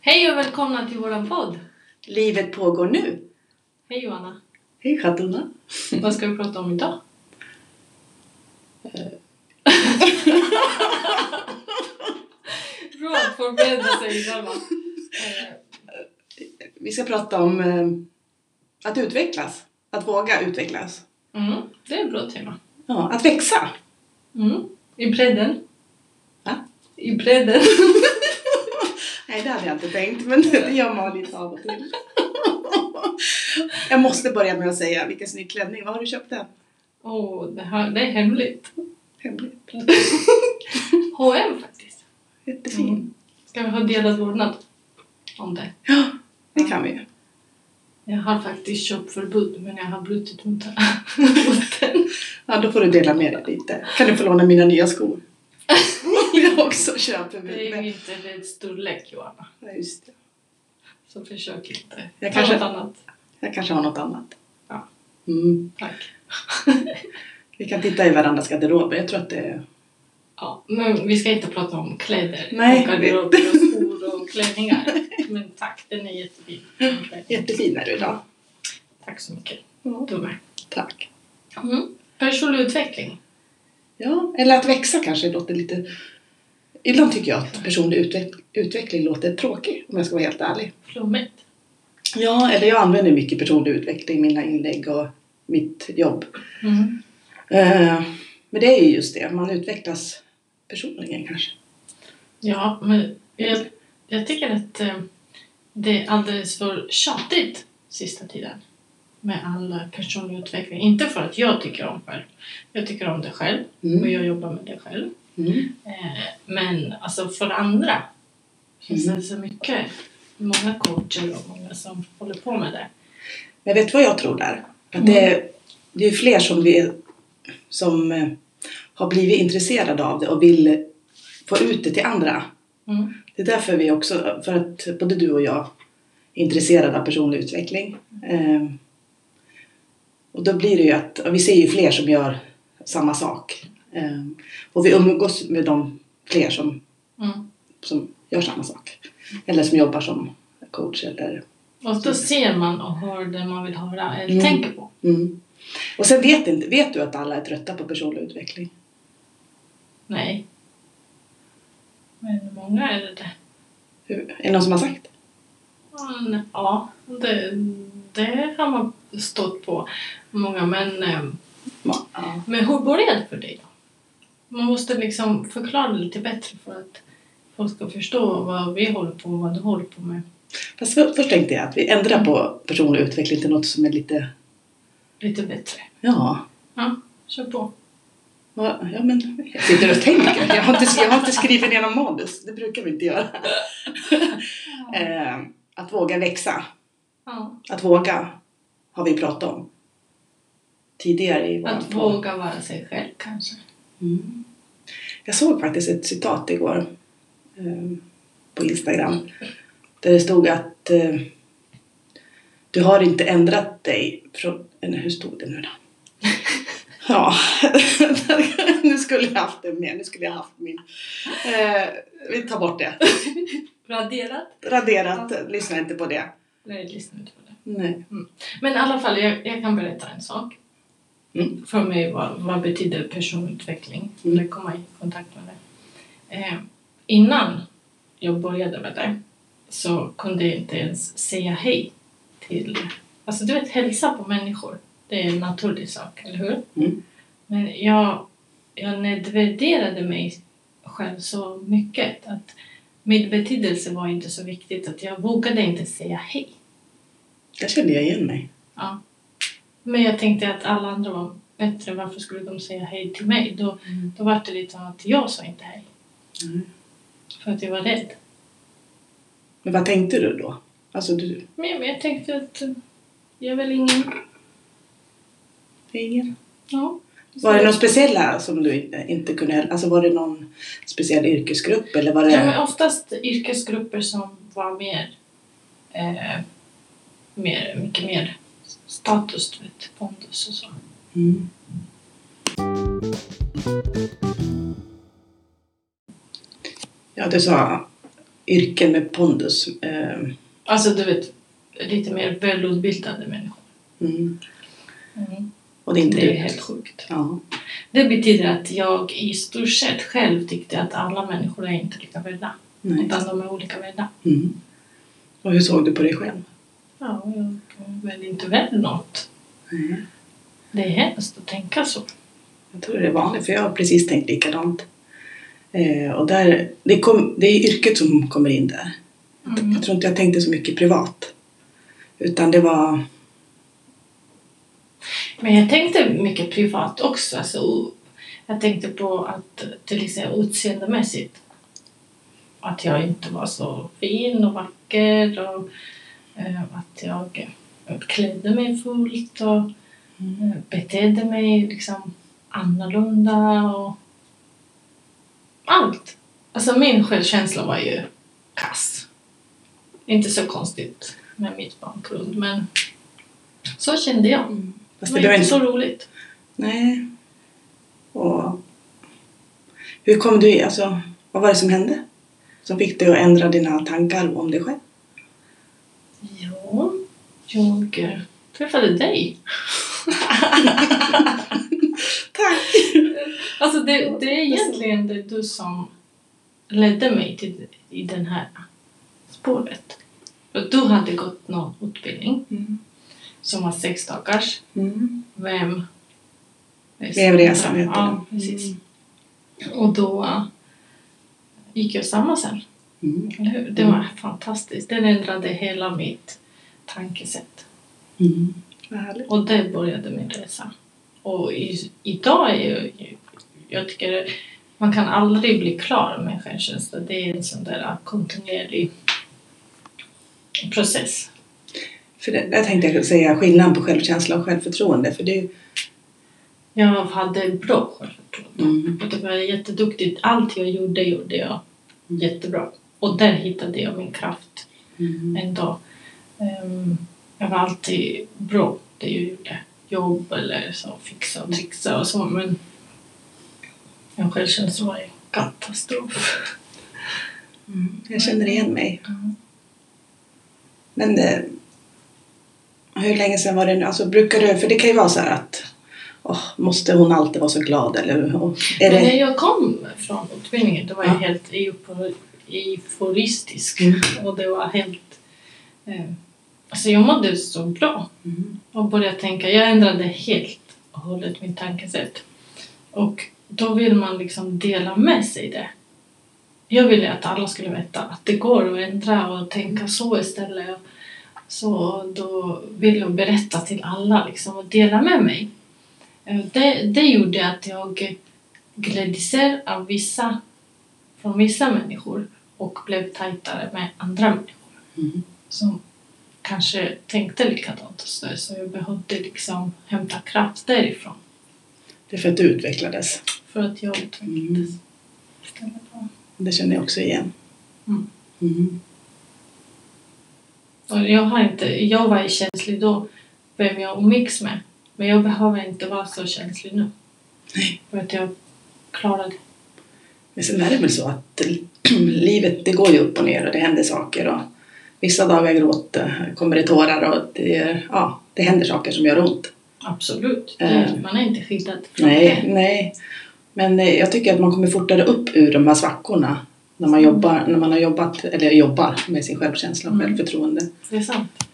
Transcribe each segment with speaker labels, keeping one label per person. Speaker 1: Hej och välkomna till våran podd!
Speaker 2: Livet pågår nu.
Speaker 1: Hej Johanna!
Speaker 2: Hej Chatuna.
Speaker 1: Vad ska vi prata om idag? Eh. Bra, förbereda sig själva. Eh,
Speaker 2: Vi ska prata om eh, att utvecklas. Att våga utvecklas.
Speaker 1: Mm, det är ett bra tema.
Speaker 2: Ja, att växa.
Speaker 1: Mm. I bredden.
Speaker 2: Va?
Speaker 1: I bredden.
Speaker 2: Nej, det hade jag inte tänkt, men det gör man lite av och till. Jag måste börja med att säga, vilken snygg klänning. Var har du köpt den?
Speaker 1: Åh, det, här, det är hemligt.
Speaker 2: Hemligt.
Speaker 1: H&M faktiskt.
Speaker 2: Jättefin.
Speaker 1: Mm. Ska vi ha delad vårdnad om det?
Speaker 2: Ja, det kan vi.
Speaker 1: Jag har faktiskt köpförbud, men jag har brutit mot mot den.
Speaker 2: Ja, då får du dela med dig lite. Kan du få låna mina nya skor? Jag också köper mig.
Speaker 1: Det är ju
Speaker 2: Men,
Speaker 1: inte rätt storlek Johanna.
Speaker 2: ja, just det.
Speaker 1: Så försök inte.
Speaker 2: Jag
Speaker 1: Ta
Speaker 2: kanske-
Speaker 1: något annat.
Speaker 2: Jag kanske har något annat.
Speaker 1: Ja.
Speaker 2: Mm.
Speaker 1: Tack.
Speaker 2: Vi kan titta i varandras garderober. Jag tror att det är...
Speaker 1: Ja, men vi ska inte prata om kläder.
Speaker 2: Nej.
Speaker 1: Och garderober och skor och klänningar. Men tack, den är jättefin. Den klänningen.
Speaker 2: Jättefin är du idag.
Speaker 1: Tack så mycket.
Speaker 2: Ja,
Speaker 1: Du med.
Speaker 2: tack.
Speaker 1: Mm. Personlig utveckling.
Speaker 2: Ja, eller att växa kanske låter lite... Ibland tycker jag att personlig utveck- utveckling låter tråkigt om jag ska vara helt ärlig.
Speaker 1: Flummigt.
Speaker 2: Ja, eller jag använder mycket personlig utveckling i mina inlägg och mitt jobb.
Speaker 1: Mm.
Speaker 2: Eh, Men det är ju just det, man utvecklas personligen kanske.
Speaker 1: Ja, men jag, jag tycker att eh, det är alldeles för tjatigt sista tiden. Med all personlig utveckling. Inte för att jag tycker om själv. Jag tycker om det själv och
Speaker 2: Mm.
Speaker 1: jag jobbar med det själv.
Speaker 2: Mm.
Speaker 1: Eh, Men alltså för andra finns det så mycket. Många coacher och många som håller på med det.
Speaker 2: Men vet du vad jag tror där? Att det, är, det är fler som, vi, som eh, har blivit intresserade av det och vill få ut det till andra.
Speaker 1: Mm.
Speaker 2: Det är därför vi också, för att både du och jag är intresserade av personlig utveckling. Ehm, och då blir det ju att, och vi ser ju fler som gör samma sak. Ehm, och vi umgås med de fler som,
Speaker 1: Mm.
Speaker 2: som gör samma sak. Eller som jobbar som coach eller...
Speaker 1: Och då ser man och hör det man vill höra eller
Speaker 2: Mm.
Speaker 1: tänker på.
Speaker 2: Mm. Och sen vet, inte, vet du att alla är trötta på personlig utveckling?
Speaker 1: Nej. Men många är det det.
Speaker 2: Hur, är det någon som har sagt?
Speaker 1: Men, Mm, Ja, det, det har man stått på. Många, men, eh,
Speaker 2: Ja. Ja.
Speaker 1: men hur började det för dig då? Man måste liksom förklara lite bättre för att folk ska förstå vad vi håller på med och vad du håller på med.
Speaker 2: Fast för, först tänkte jag att vi ändrar på personlig utveckling till något som är lite...
Speaker 1: Lite bättre.
Speaker 2: Ja,
Speaker 1: Ja, kör på.
Speaker 2: Ja, ja, men jag sitter och tänker. Jag har, inte, jag har inte skrivit ner någon manus. Det brukar vi inte göra. Eh, att våga växa.
Speaker 1: Ja.
Speaker 2: Att våga har vi pratat om tidigare i vår
Speaker 1: Att
Speaker 2: podd.
Speaker 1: våga vara sig själv kanske.
Speaker 2: Mm. Jag såg faktiskt ett citat igår eh, på Instagram där det stod att eh, du har inte ändrat dig från... eller Hur stod det nu då? Ja, nu skulle jag haft det med. Nu skulle jag haft min... Eh, vi tar bort det.
Speaker 1: Raderat?
Speaker 2: Raderat, lyssna inte på det.
Speaker 1: Nej, lyssna inte på det.
Speaker 2: Nej.
Speaker 1: Men i alla fall, jag, jag kan berätta en sak.
Speaker 2: Mm.
Speaker 1: För mig, vad, vad betyder personutveckling?
Speaker 2: Mm.
Speaker 1: Eller komma i kontakt med det. Eh, innan jag började med det så kunde jag inte ens säga hej till... Alltså du vet, hälsa på människor. Det är en naturlig sak, eller hur?
Speaker 2: Mm.
Speaker 1: Men jag, jag nedvärderade mig själv så mycket att min betydelse var inte så viktigt att jag vågade inte säga hej.
Speaker 2: Där kände jag igen mig.
Speaker 1: Ja. Men jag tänkte att alla andra var bättre. Varför skulle de säga hej till mig? Då,
Speaker 2: Mm.
Speaker 1: då var det lite som att jag sa inte hej.
Speaker 2: Mm.
Speaker 1: För att jag var rädd.
Speaker 2: Men vad tänkte du då? Alltså, du...
Speaker 1: Men, men jag tänkte att eh, jag är väl ingen...
Speaker 2: Ingen.
Speaker 1: Ja.
Speaker 2: Var det någon speciella som du inte, inte kunde... Alltså var det någon speciell yrkesgrupp eller var det...
Speaker 1: Ja, men oftast yrkesgrupper som var mer... Eh, mer mycket mer status, du vet, pondus och så.
Speaker 2: Mm. Ja, du sa yrken med pondus. Eh,
Speaker 1: Alltså du vet, lite mer välutbildade människor.
Speaker 2: mm. Och det är inte
Speaker 1: Det är
Speaker 2: du.
Speaker 1: helt sjukt.
Speaker 2: Ja.
Speaker 1: Det betyder att jag i stort sett själv tyckte att alla människor är inte lika värda.
Speaker 2: Nej.
Speaker 1: Utan de är olika värda.
Speaker 2: Mm. Och hur såg du på dig själv?
Speaker 1: Ja, jag är väl inte värd något. Mm.
Speaker 2: Nej.
Speaker 1: Det är hemskt att tänka så.
Speaker 2: Jag tror det är vanligt, för jag har precis tänkt likadant. Eh, och där, det, kom, det är yrket som kommer in där.
Speaker 1: Mm.
Speaker 2: Jag tror inte jag tänkte så mycket privat. Utan det var...
Speaker 1: Men jag tänkte mycket privat också. Alltså, jag tänkte på att till exempel utseendemässigt. Att jag inte var så fin och vacker och eh, att jag eh, klädde mig fult och eh, betedde mig liksom annorlunda och allt. Alltså min självkänsla var ju kass. Inte så konstigt med mitt bakgrund men så kände jag.
Speaker 2: Fast
Speaker 1: det var
Speaker 2: det behöver
Speaker 1: inte
Speaker 2: inte...
Speaker 1: så roligt.
Speaker 2: Nej. Och... Hur kom du... Alltså, vad var det som hände? Som fick dig att ändra dina tankar om dig själv?
Speaker 1: Ja, jag eh, träffade dig.
Speaker 2: Tack!
Speaker 1: Alltså det, det är egentligen det du som ledde mig till i den här spåret. För du hade gått någon utbildning
Speaker 2: Mm.
Speaker 1: som var sex dagars.
Speaker 2: Mm.
Speaker 1: Vem?
Speaker 2: Vem resan heter
Speaker 1: Ja,
Speaker 2: den.
Speaker 1: precis. Och då eh, gick jag samma sen.
Speaker 2: Mm.
Speaker 1: Eller hur? Det var fantastiskt. Den ändrade hela mitt tankesätt.
Speaker 2: Mm. Vad härligt.
Speaker 1: Och det började min resa. Och i, idag är ju, jag tycker man kan aldrig bli klar med självkänsla. Det är en sån där kontinuerlig process.
Speaker 2: För det, där tänkte jag säga skillnaden på självkänsla och självförtroende. För det är ju...
Speaker 1: Jag hade bra självförtroende.
Speaker 2: Mm.
Speaker 1: Det var jätteduktigt. Allt jag gjorde, gjorde jag jättebra. Och där hittade jag min kraft
Speaker 2: Mm.
Speaker 1: en dag. Ehm, jag var alltid bra det jag gjorde. Jobb eller så, fixa och trixa och så. Men jag själv kände så var det katastrof.
Speaker 2: Mm, Jag känner igen mig. Men eh, hur länge sedan var det nu? Alltså, brukar du, för det kan ju vara så här att åh, måste hon alltid vara så glad? Eller, åh, är
Speaker 1: Men
Speaker 2: det,
Speaker 1: när jag kom från utbildningen då var jag
Speaker 2: Ja.
Speaker 1: helt eufor- euforistisk.
Speaker 2: Mm.
Speaker 1: Och det var helt... Eh, alltså jag mådde så bra.
Speaker 2: Mm.
Speaker 1: och började tänka. Jag ändrade helt och hållet mitt tankesätt. Och då vill man liksom dela med sig det. Jag ville att alla skulle veta att det går att ändra och tänka så istället. Så då vill jag berätta till alla liksom och dela med mig. Eh, Det, det gjorde att jag glädjer av vissa, från vissa människor och blev tajtare med andra människor
Speaker 2: Mm.
Speaker 1: som kanske tänkte likadant och sådär. Så jag behövde liksom hämta kraft därifrån
Speaker 2: det är för att du utvecklades. Mm,
Speaker 1: för att jag utvecklades. Stämmer bra.
Speaker 2: Det känner jag också igen.
Speaker 1: Mm.
Speaker 2: Mm.
Speaker 1: Och jag, har inte, jag var känslig då, vem jag umgicks med. Men jag behöver inte vara så känslig nu.
Speaker 2: Nej.
Speaker 1: För att jag klarade det.
Speaker 2: Men sen är det väl så att livet det går ju upp och ner och det händer saker. Och vissa dagar gråter, kommer det tårar och det, ja, det händer saker som gör ont.
Speaker 1: Absolut.
Speaker 2: Eh.
Speaker 1: Det, man är inte skyddad från
Speaker 2: Nej, nej. Men eh, jag tycker att man kommer fortare upp ur de här svackorna när man, jobbar, när man har jobbat, eller jobbar med sin självkänsla och
Speaker 1: Mm.
Speaker 2: självförtroende.
Speaker 1: det. Det är sant.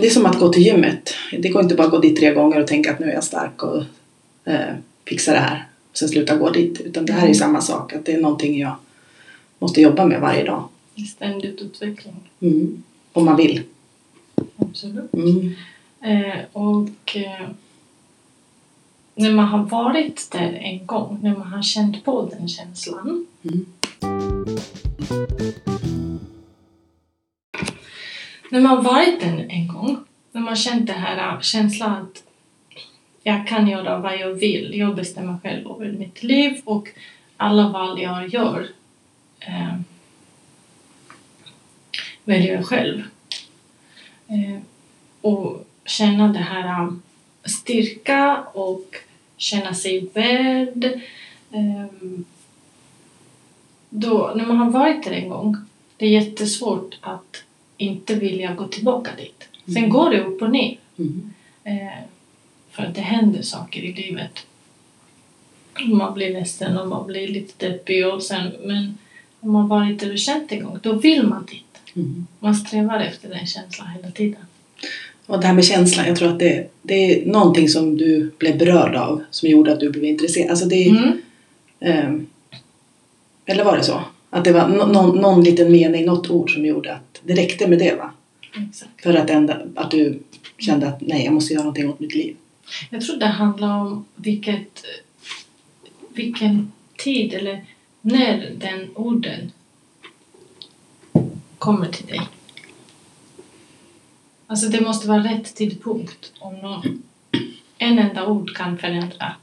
Speaker 2: Det är som att gå till gymmet. Det går inte bara att gå dit tre gånger och tänka att nu är jag stark och eh, fixar det här och sen sluta gå dit. Utan det här är
Speaker 1: Mm.
Speaker 2: ju samma sak, att det är någonting jag måste jobba med varje dag.
Speaker 1: Det är ständigt utveckling.
Speaker 2: Mm. Om man vill.
Speaker 1: Absolut.
Speaker 2: Mm.
Speaker 1: Eh, och eh, när man har varit där en gång, när man har känt på den känslan.
Speaker 2: Mm.
Speaker 1: När man har varit där en gång, när man har känt den här eh, känslan att jag kan göra vad jag vill, jag bestämmer själv över mitt liv och alla val jag gör eh, väljer jag själv. Eh, och känna det här um, styrka och känna sig värd. Ehm, Eh, då, när man har varit där en gång, det är jättesvårt att inte vilja gå tillbaka dit. Sen
Speaker 2: Mm.
Speaker 1: går det upp och ner.
Speaker 2: Mm.
Speaker 1: Eh, för att det händer saker i livet. Man blir ledsen och man blir lite deppig och sen, men om man varit där och känt en gång, då vill man dit.
Speaker 2: Mm.
Speaker 1: Man strävar efter den känslan hela tiden.
Speaker 2: Och det här med känslan, jag tror att det, det är någonting som du blev berörd av som gjorde att du blev intresserad. Alltså det,
Speaker 1: Mm.
Speaker 2: ehm, eller var det så? Att det var nå- någon, någon liten mening, något ord som gjorde att det räckte med det va?
Speaker 1: Exakt.
Speaker 2: För att, ända, att du kände att nej, jag måste göra någonting åt mitt liv.
Speaker 1: Jag tror det handlar om vilket, vilken tid eller när den orden kommer till dig. Alltså det måste vara rätt tidpunkt om någon, en enda ord kan förändra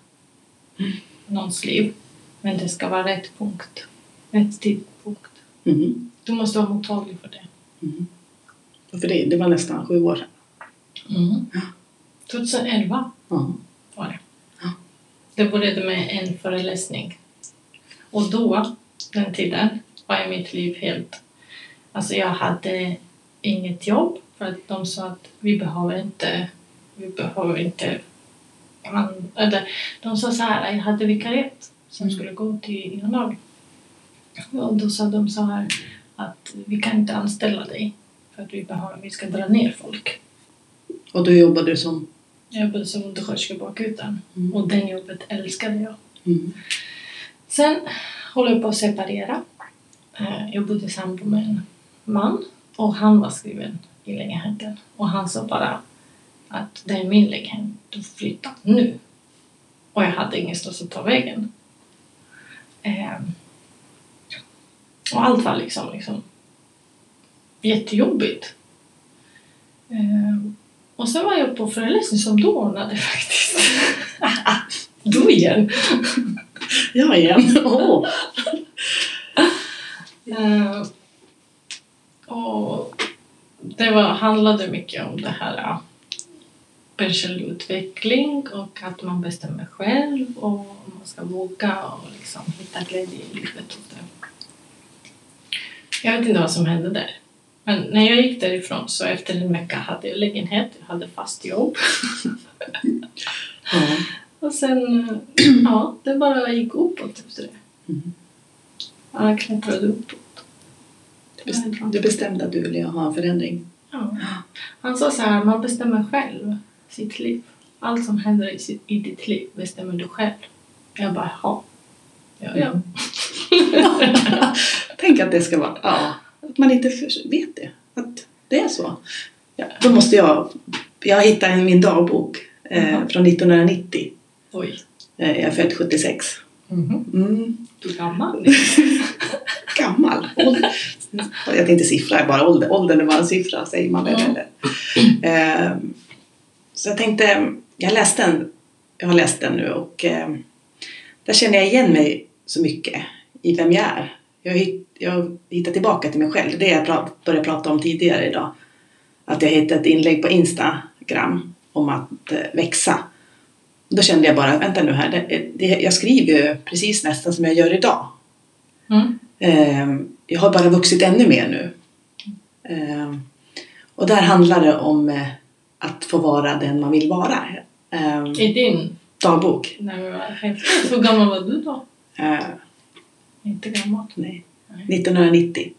Speaker 1: någons liv. Men det ska vara rätt punkt, rätt tidpunkt.
Speaker 2: Mm.
Speaker 1: Du måste vara mottaglig för det.
Speaker 2: Mm. För det, det var nästan sju år sedan. Ja.
Speaker 1: 2011
Speaker 2: Ja.
Speaker 1: var det.
Speaker 2: Ja.
Speaker 1: Det började med en föreläsning. Och då, den tiden, var jag mitt liv helt... Alltså jag hade inget jobb för att de sa att vi behöver inte... Vi behöver inte... an- Eller, de sa så här, jag hade vikariat som
Speaker 2: Mm.
Speaker 1: skulle gå till januari. Och då sa de så här att vi kan inte anställa dig för att vi, behöver, vi ska dra ner folk.
Speaker 2: Och då jobbade du som...
Speaker 1: Jag jobbade som undersköterska bakutan
Speaker 2: Mm.
Speaker 1: och den jobbet älskade jag.
Speaker 2: Mm.
Speaker 1: Sen håller jag på att separera. Eh, Jag bodde i sambo med en man och han var skriven i lägenheten. Och han sa bara att det är min lägenhet, du får flytta nu. Och jag hade ingenstans att ta vägen. Eh, Och allt var liksom, liksom jättejobbigt. Eh, Och sen var jag på föreläsning som du ordnade faktiskt. du igen!
Speaker 2: Ja, igen. Åh.
Speaker 1: Eh, och det var, handlade mycket om det här ja, personlig utveckling och att man bestämmer själv och man ska våga och liksom hitta glädje i livet. Och det. Jag vet inte vad som hände där. Men när jag gick därifrån så efter en vecka hade jag lägenhet, jag hade fast jobb.
Speaker 2: Ja.
Speaker 1: Och sen, eh, ja, det bara gick uppåt efter det.
Speaker 2: Mm.
Speaker 1: Ja, Jag klättrade uppåt.
Speaker 2: Du bes- Du bestämde att du ville ha en förändring.
Speaker 1: Ja. Han sa så här, man bestämmer själv sitt liv. Allt som händer i, sitt, i ditt liv bestämmer du själv. Jag bara, ja. Ja, ja.
Speaker 2: Tänk att det ska vara... Ja. Att man inte för, vet det. Att det är så. Ja, då måste jag... Jag hittade i min dagbok eh,
Speaker 1: Jaha.
Speaker 2: från 1990.
Speaker 1: Oj.
Speaker 2: Eh, jag är född 76.
Speaker 1: Mm-hmm.
Speaker 2: Mm.
Speaker 1: Du är gammal. liksom.
Speaker 2: Gammal. Ålder. Jag tänkte siffra, är bara ålder. Åldern är bara en siffra, säger man väl.
Speaker 1: Ja.
Speaker 2: Eller? Eh, så jag tänkte... Jag läste den. Jag har läst den nu och eh, där känner jag igen mig så mycket i vem jag är. Jag, hitt, jag hittar tillbaka till mig själv. Det jag pra, började prata om tidigare idag. Att jag hittade ett inlägg på Instagram om att eh, växa. Då kände jag bara, vänta nu här, det, det, jag skriver ju precis nästan som jag gör idag.
Speaker 1: Mm.
Speaker 2: Ehm, jag har bara vuxit ännu mer nu. Ehm, och där handlar det om eh, att få vara den man vill vara. Ehm,
Speaker 1: I din,
Speaker 2: dagbok.
Speaker 1: när vi var häftigt. Hur gammal var du då?
Speaker 2: Eh,
Speaker 1: Inte gammal.
Speaker 2: nej.
Speaker 1: Nej. Mm.
Speaker 2: 1990.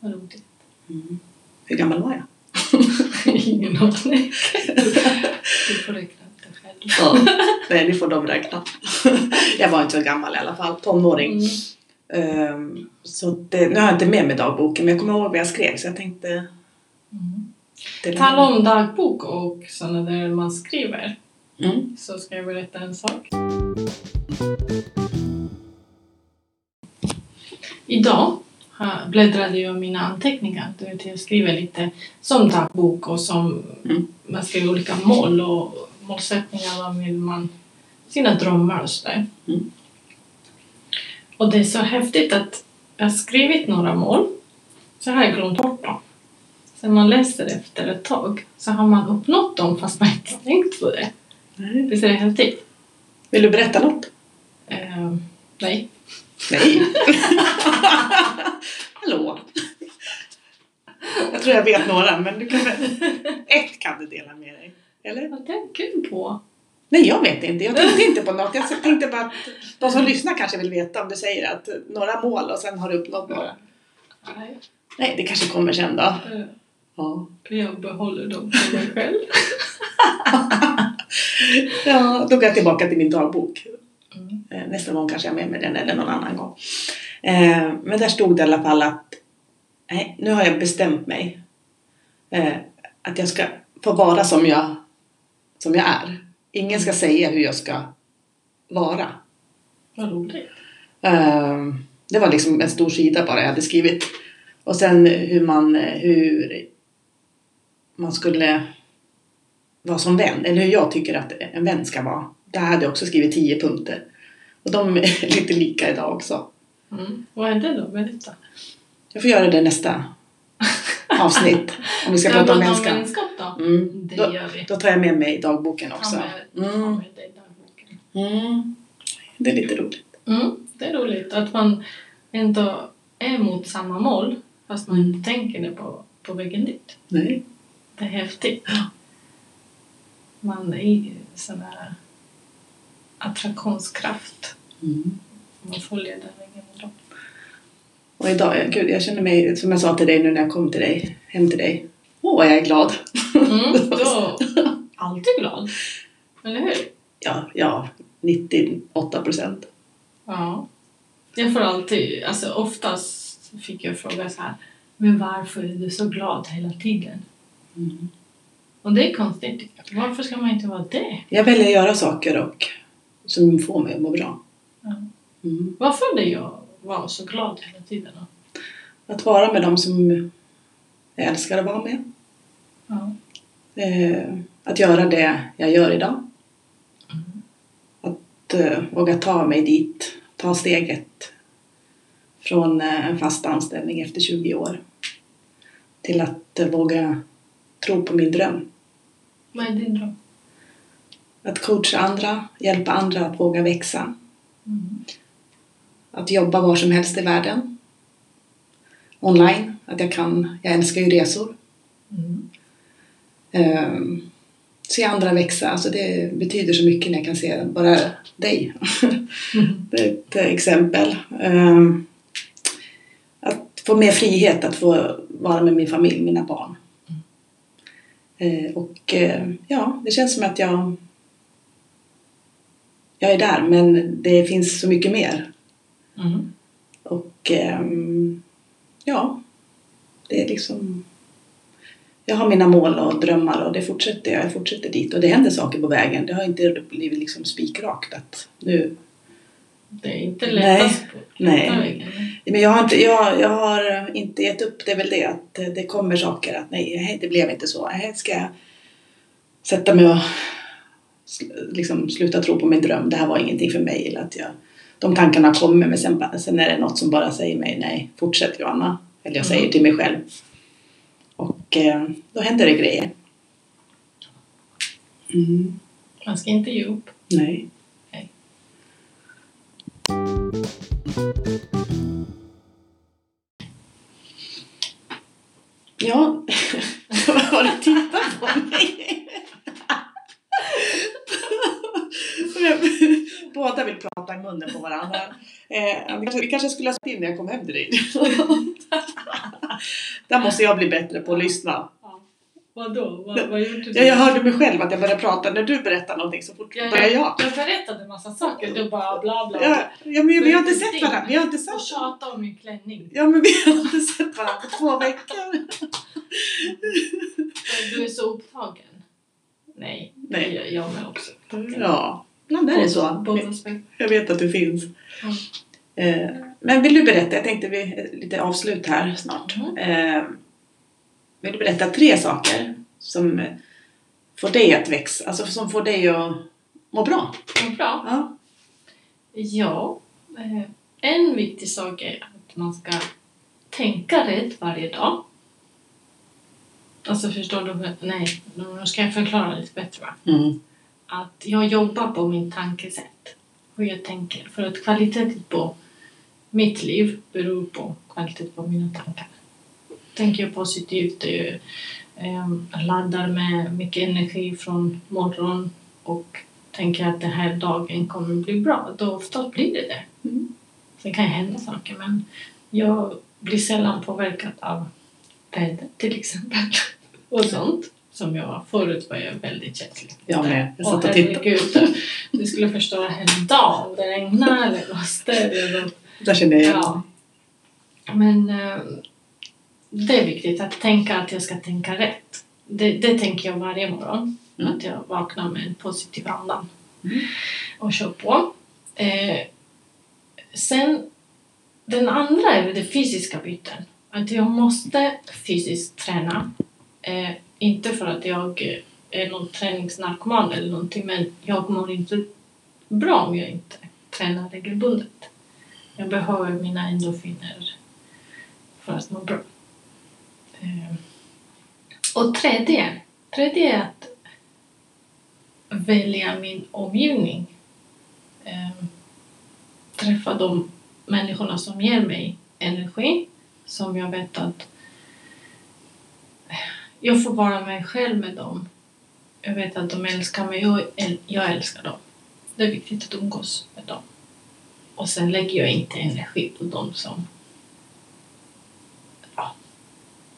Speaker 1: Vad roligt.
Speaker 2: Hur gammal var jag?
Speaker 1: Ingen aning. Du får räkna ut det själv.
Speaker 2: nej, det får de räkna. jag var inte så gammal i alla fall. Tonåring.
Speaker 1: Mm.
Speaker 2: Ehm, så det, nu har jag inte med mig dagboken, men jag kommer ihåg vad jag skrev så jag tänkte...
Speaker 1: Mm.
Speaker 2: dela
Speaker 1: Tala
Speaker 2: med
Speaker 1: om dagbok och sådana där man skriver.
Speaker 2: mig. Mm.
Speaker 1: så ska jag berätta en sak. Idag har- bläddrade jag i mina anteckningar. Du vet, jag skriver lite som dagbok och som
Speaker 2: Mm.
Speaker 1: man skriver olika mål och målsättningar. Vad vill man? Sina drömmar och sådär.
Speaker 2: Mm.
Speaker 1: Och det är så häftigt att jag har skrivit några mål. Så har jag glömt bort dem. Sen man läser efter ett tag så har man uppnått dem fast man inte tänkt på det.
Speaker 2: Nej.
Speaker 1: Visst är det häftigt?
Speaker 2: Vill du berätta något?
Speaker 1: Eh, Ehm, nej.
Speaker 2: Nej. Hallå. Jag tror jag vet några, men du kan väl... Ett kan du dela med dig. Eller?
Speaker 1: Vad tänker du på?
Speaker 2: Nej, jag vet inte. Jag tänkte inte på något. Jag tänkte bara att de som lyssnar kanske vill veta om du säger att några mål och sen har du uppnått några.
Speaker 1: Nej,
Speaker 2: Nej, det kanske kommer sen då.
Speaker 1: eh,
Speaker 2: Ja,
Speaker 1: jag behåller dem för mig själv.
Speaker 2: ja då går jag tillbaka till min dagbok.
Speaker 1: Mm.
Speaker 2: Eh, Nästa gång kanske jag har med mig den eller någon annan gång. Eh, Men där stod det i alla fall att nej, nu har jag bestämt mig. eh, Att jag ska få vara som jag, som jag är. Ingen ska säga hur jag ska vara.
Speaker 1: Vad roligt.
Speaker 2: Eh, Det var liksom en stor sida bara jag hade skrivit. Och sen hur man, eh, hur man skulle vara som vän. Eller hur jag tycker att en vän ska vara. Där hade jag också skrivit tio punkter. Och de är lite lika idag också.
Speaker 1: Mm. Vad är det då? Berätta.
Speaker 2: Jag får göra det nästa avsnitt. Om vi ska prata om människan.
Speaker 1: vänskap då?
Speaker 2: Mm.
Speaker 1: Det
Speaker 2: Då,
Speaker 1: gör vi.
Speaker 2: då tar jag med mig dagboken
Speaker 1: Ta
Speaker 2: också.
Speaker 1: med, ta
Speaker 2: Mm.
Speaker 1: med dig dagboken.
Speaker 2: Mm. Det är lite roligt.
Speaker 1: Mm. Det är roligt att man ändå är mot samma mål fast man inte tänker det på, på vägen dit.
Speaker 2: Nej.
Speaker 1: Det är häftigt.
Speaker 2: Ja.
Speaker 1: Man är ju sån här attraktionskraft.
Speaker 2: Mm.
Speaker 1: Man följer den vägen ändå.
Speaker 2: Och idag, gud, jag känner mig, som jag sa till dig nu när jag kom till dig, hem till dig. Åh, vad jag är glad.
Speaker 1: Mm. Då, alltid glad. Eller hur?
Speaker 2: Ja, ja 98 procent.
Speaker 1: Ja. Jag får alltid, alltså oftast fick jag fråga så här, men varför är du så glad hela tiden?
Speaker 2: Mm.
Speaker 1: Och det är konstigt. tycker jag. Varför ska man inte vara det?
Speaker 2: Jag väljer att göra saker och, som får mig att må bra.
Speaker 1: Ja.
Speaker 2: Mm.
Speaker 1: Varför är jag var så glad hela tiden? då?
Speaker 2: Att vara med dem som jag älskar att vara med.
Speaker 1: Ja.
Speaker 2: Eh, att göra det jag gör idag. Att eh, våga ta mig dit, ta steget från eh, en fast anställning efter 20 år till att eh, våga tro på min dröm.
Speaker 1: Vad är din dröm?
Speaker 2: Att coacha andra, hjälpa andra att våga växa.
Speaker 1: Mm.
Speaker 2: Att jobba var som helst i världen. Online, att jag kan. Jag älskar ju resor.
Speaker 1: Mm.
Speaker 2: Eh, se andra växa, alltså det betyder så mycket när jag kan se bara dig
Speaker 1: Mm.
Speaker 2: Det är ett exempel. Ehm, Att få mer frihet att få vara med min familj, mina barn. Eh, Och eh, ja, det känns som att jag jag är där, men det finns så mycket mer.
Speaker 1: Mm.
Speaker 2: Och ehm, ja, det är liksom... Jag har mina mål och drömmar och det fortsätter jag. Jag fortsätter dit och det händer saker på vägen. Det har inte blivit liksom spikrakt att nu...
Speaker 1: Det är inte
Speaker 2: Nej.
Speaker 1: lättast på
Speaker 2: Nej.
Speaker 1: på vägen.
Speaker 2: Men jag har, inte, jag, jag har eh, inte gett upp, det är väl det att eh, det kommer saker att nej, hej, det blev inte så. Hej, ska jag sätta mig och sl- liksom sluta tro på min dröm, det här var ingenting för mig. Eller att jag, de tankarna kommer men sen, ba- sen är det något som bara säger mig nej, fortsätt Johanna. Eller jag säger
Speaker 1: Mm.
Speaker 2: till mig själv. Och eh, då händer det grejer. Mm,
Speaker 1: Man ska inte ge upp.
Speaker 2: nej.
Speaker 1: Nej.
Speaker 2: Ja, vad har du tittat på mig? Båda vill prata i munnen på varandra. Eh, vi kanske- vi kanske skulle ha spelat in när jag kom hem till dig. Där måste jag bli bättre på att lyssna.
Speaker 1: Vadå? Vad, vad gjorde du?
Speaker 2: Jag, jag hörde mig själv att jag började prata när du berättar någonting så fort
Speaker 1: jag,
Speaker 2: börjar jag.
Speaker 1: Eh, jag berättade massa saker. Du bara bla bla.
Speaker 2: Ja,
Speaker 1: bla.
Speaker 2: ja, men vi har inte sett varandra. Vi har inte
Speaker 1: Och
Speaker 2: sett,
Speaker 1: tjatade om min klänning.
Speaker 2: ja, men vi har inte sett varandra på två veckor.
Speaker 1: Eh, Du är så upptagen. Nej,
Speaker 2: Nej.
Speaker 1: Jag, jag med också.
Speaker 2: Ja, ibland är det så.
Speaker 1: Båda spel.
Speaker 2: Jag vet att du finns.
Speaker 1: Mm.
Speaker 2: Eh, Men vill du berätta, jag tänkte vi är lite avslut här snart.
Speaker 1: Mhm.
Speaker 2: Eh, Vill du berätta tre saker som eh, får dig att växa, alltså som får dig att må bra?
Speaker 1: Vad bra.
Speaker 2: Ja.
Speaker 1: Ja, eh, en viktig sak är att man ska tänka rätt varje dag. Alltså förstår du? Nej, nu ska jag förklara lite bättre. Va?
Speaker 2: Mm.
Speaker 1: Att jag jobbar på min tankesätt. Hur jag tänker. För att kvaliteten på mitt liv beror på alltid på mina tankar. Tänker jag positivt, eh, ehm, laddar med mycket energi från morgon och tänker att den här dagen kommer bli bra, då oftast blir det det.
Speaker 2: Mm.
Speaker 1: Sen kan det hända saker men jag blir sällan påverkad av väder till exempel. Och sånt som jag var förut var jag väldigt känslig.
Speaker 2: Jag med. Jag
Speaker 1: Åh,
Speaker 2: satt och tittade.
Speaker 1: herregud, du skulle förstöra hela dagen om det regnar eller blåste. eller något.
Speaker 2: Där känner jag igen.
Speaker 1: Ja. Men eh, det är viktigt att tänka att jag ska tänka rätt. Det, det tänker jag varje morgon.
Speaker 2: Mm.
Speaker 1: Att jag vaknar med en positiv anda
Speaker 2: Mm.
Speaker 1: och kör på. Eh, sen den andra är den fysiska biten. Att jag måste fysiskt träna. Eh, inte för att jag är någon träningsnarkoman eller någonting men jag mår inte bra om jag inte tränar regelbundet. Jag behöver mina endorfiner för att må bra. Eh, Och tredje, tredje är att välja min omgivning. Eh, Träffa de människorna som ger mig energi, som jag vet att jag får vara mig själv med dem. Jag vet att de älskar mig och äl- jag älskar dem. Det är viktigt att umgås med dem. Och sen lägger jag inte energi på dem som... Ja,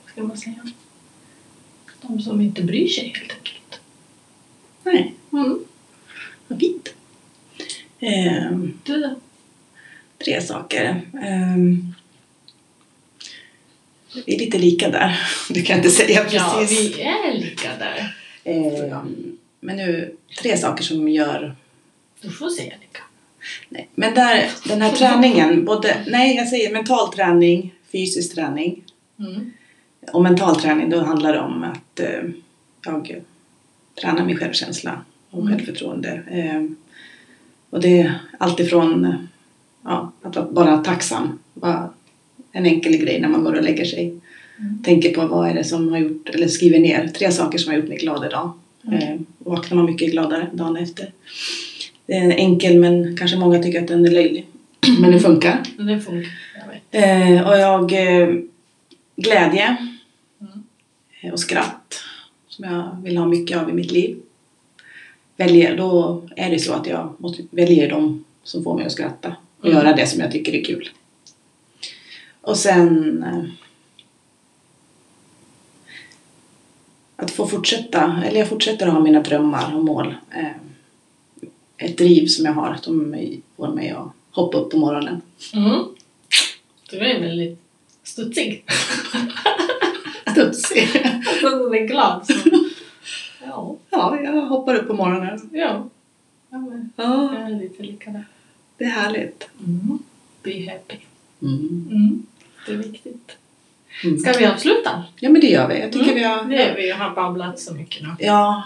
Speaker 1: vad ska man säga? De som inte bryr sig helt enkelt.
Speaker 2: Nej,
Speaker 1: Mm.
Speaker 2: vad fint. Ehm,
Speaker 1: Du då?
Speaker 2: tre saker. Ehm, vi är lite lika där. Det kan jag inte säga
Speaker 1: Ja,
Speaker 2: precis.
Speaker 1: vi är lika där.
Speaker 2: Ehm, men nu, tre saker som gör...
Speaker 1: Du får säga lika.
Speaker 2: Nej. Men där, den här träningen, både... Nej, jag säger mental träning, fysisk träning.
Speaker 1: Mm.
Speaker 2: Och mental träning, då handlar det om att eh, jag tränar min självkänsla och
Speaker 1: Mm.
Speaker 2: självförtroende. Eh, och det är alltifrån eh, ja, att vara- bara tacksam. Bara en enkel grej när man går och lägger sig.
Speaker 1: Mm.
Speaker 2: Tänker på vad är det som har gjort, eller skriver ner tre saker som har gjort mig glad idag.
Speaker 1: Mm.
Speaker 2: Eh, vaknar man mycket gladare dagen efter. Det är en enkel men kanske många tycker att den är löjlig. men det funkar.
Speaker 1: Men Det funkar. Jag vet.
Speaker 2: Eh, och jag... Eh, glädje
Speaker 1: Mm.
Speaker 2: eh, och skratt som jag vill ha mycket av i mitt liv. Väljer, då är det så att jag måste välja dem som får mig att skratta och
Speaker 1: Mm.
Speaker 2: göra det som jag tycker är kul. Och sen eh, att få fortsätta, eller jag fortsätter att ha mina drömmar och mål. Eh, Ett driv som jag har som får mig att hoppa upp på morgonen.
Speaker 1: Mm. Du är väldigt studsig.
Speaker 2: Studsig.
Speaker 1: Du är glad. Så. Ja.
Speaker 2: Ja, jag hoppar upp på morgonen.
Speaker 1: Ja. Ja, men
Speaker 2: Ja,
Speaker 1: jag är lite lika där.
Speaker 2: det är härligt.
Speaker 1: Mm. Be happy.
Speaker 2: Mm.
Speaker 1: Mm. Det är viktigt.
Speaker 2: Mm.
Speaker 1: Ska vi avsluta?
Speaker 2: Ja men det gör vi. Jag tycker
Speaker 1: Mm,
Speaker 2: vi har...
Speaker 1: Det är vi. Jag har babblat så mycket nu.
Speaker 2: Ja,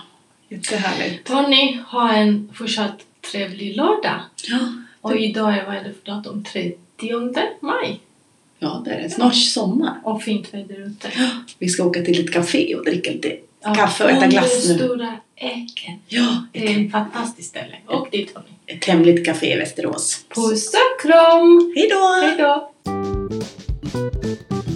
Speaker 2: jättehärligt.
Speaker 1: Tony, ha en fortsatt trevlig lördag.
Speaker 2: Ja.
Speaker 1: Och idag är vad är det för datum? 30 maj.
Speaker 2: ja, det är det. Snart sommar.
Speaker 1: Och fint väder ute.
Speaker 2: Vi ska åka till ett café och dricka lite.
Speaker 1: Ja,
Speaker 2: Kaffe och äta glass nu.
Speaker 1: Under Stora Äken.
Speaker 2: Ja,
Speaker 1: Det är ett fantastiskt ställe. Och dit Tony.
Speaker 2: ett hemligt café i Västerås.
Speaker 1: Puss och kram!
Speaker 2: Hej då!
Speaker 1: Hej då!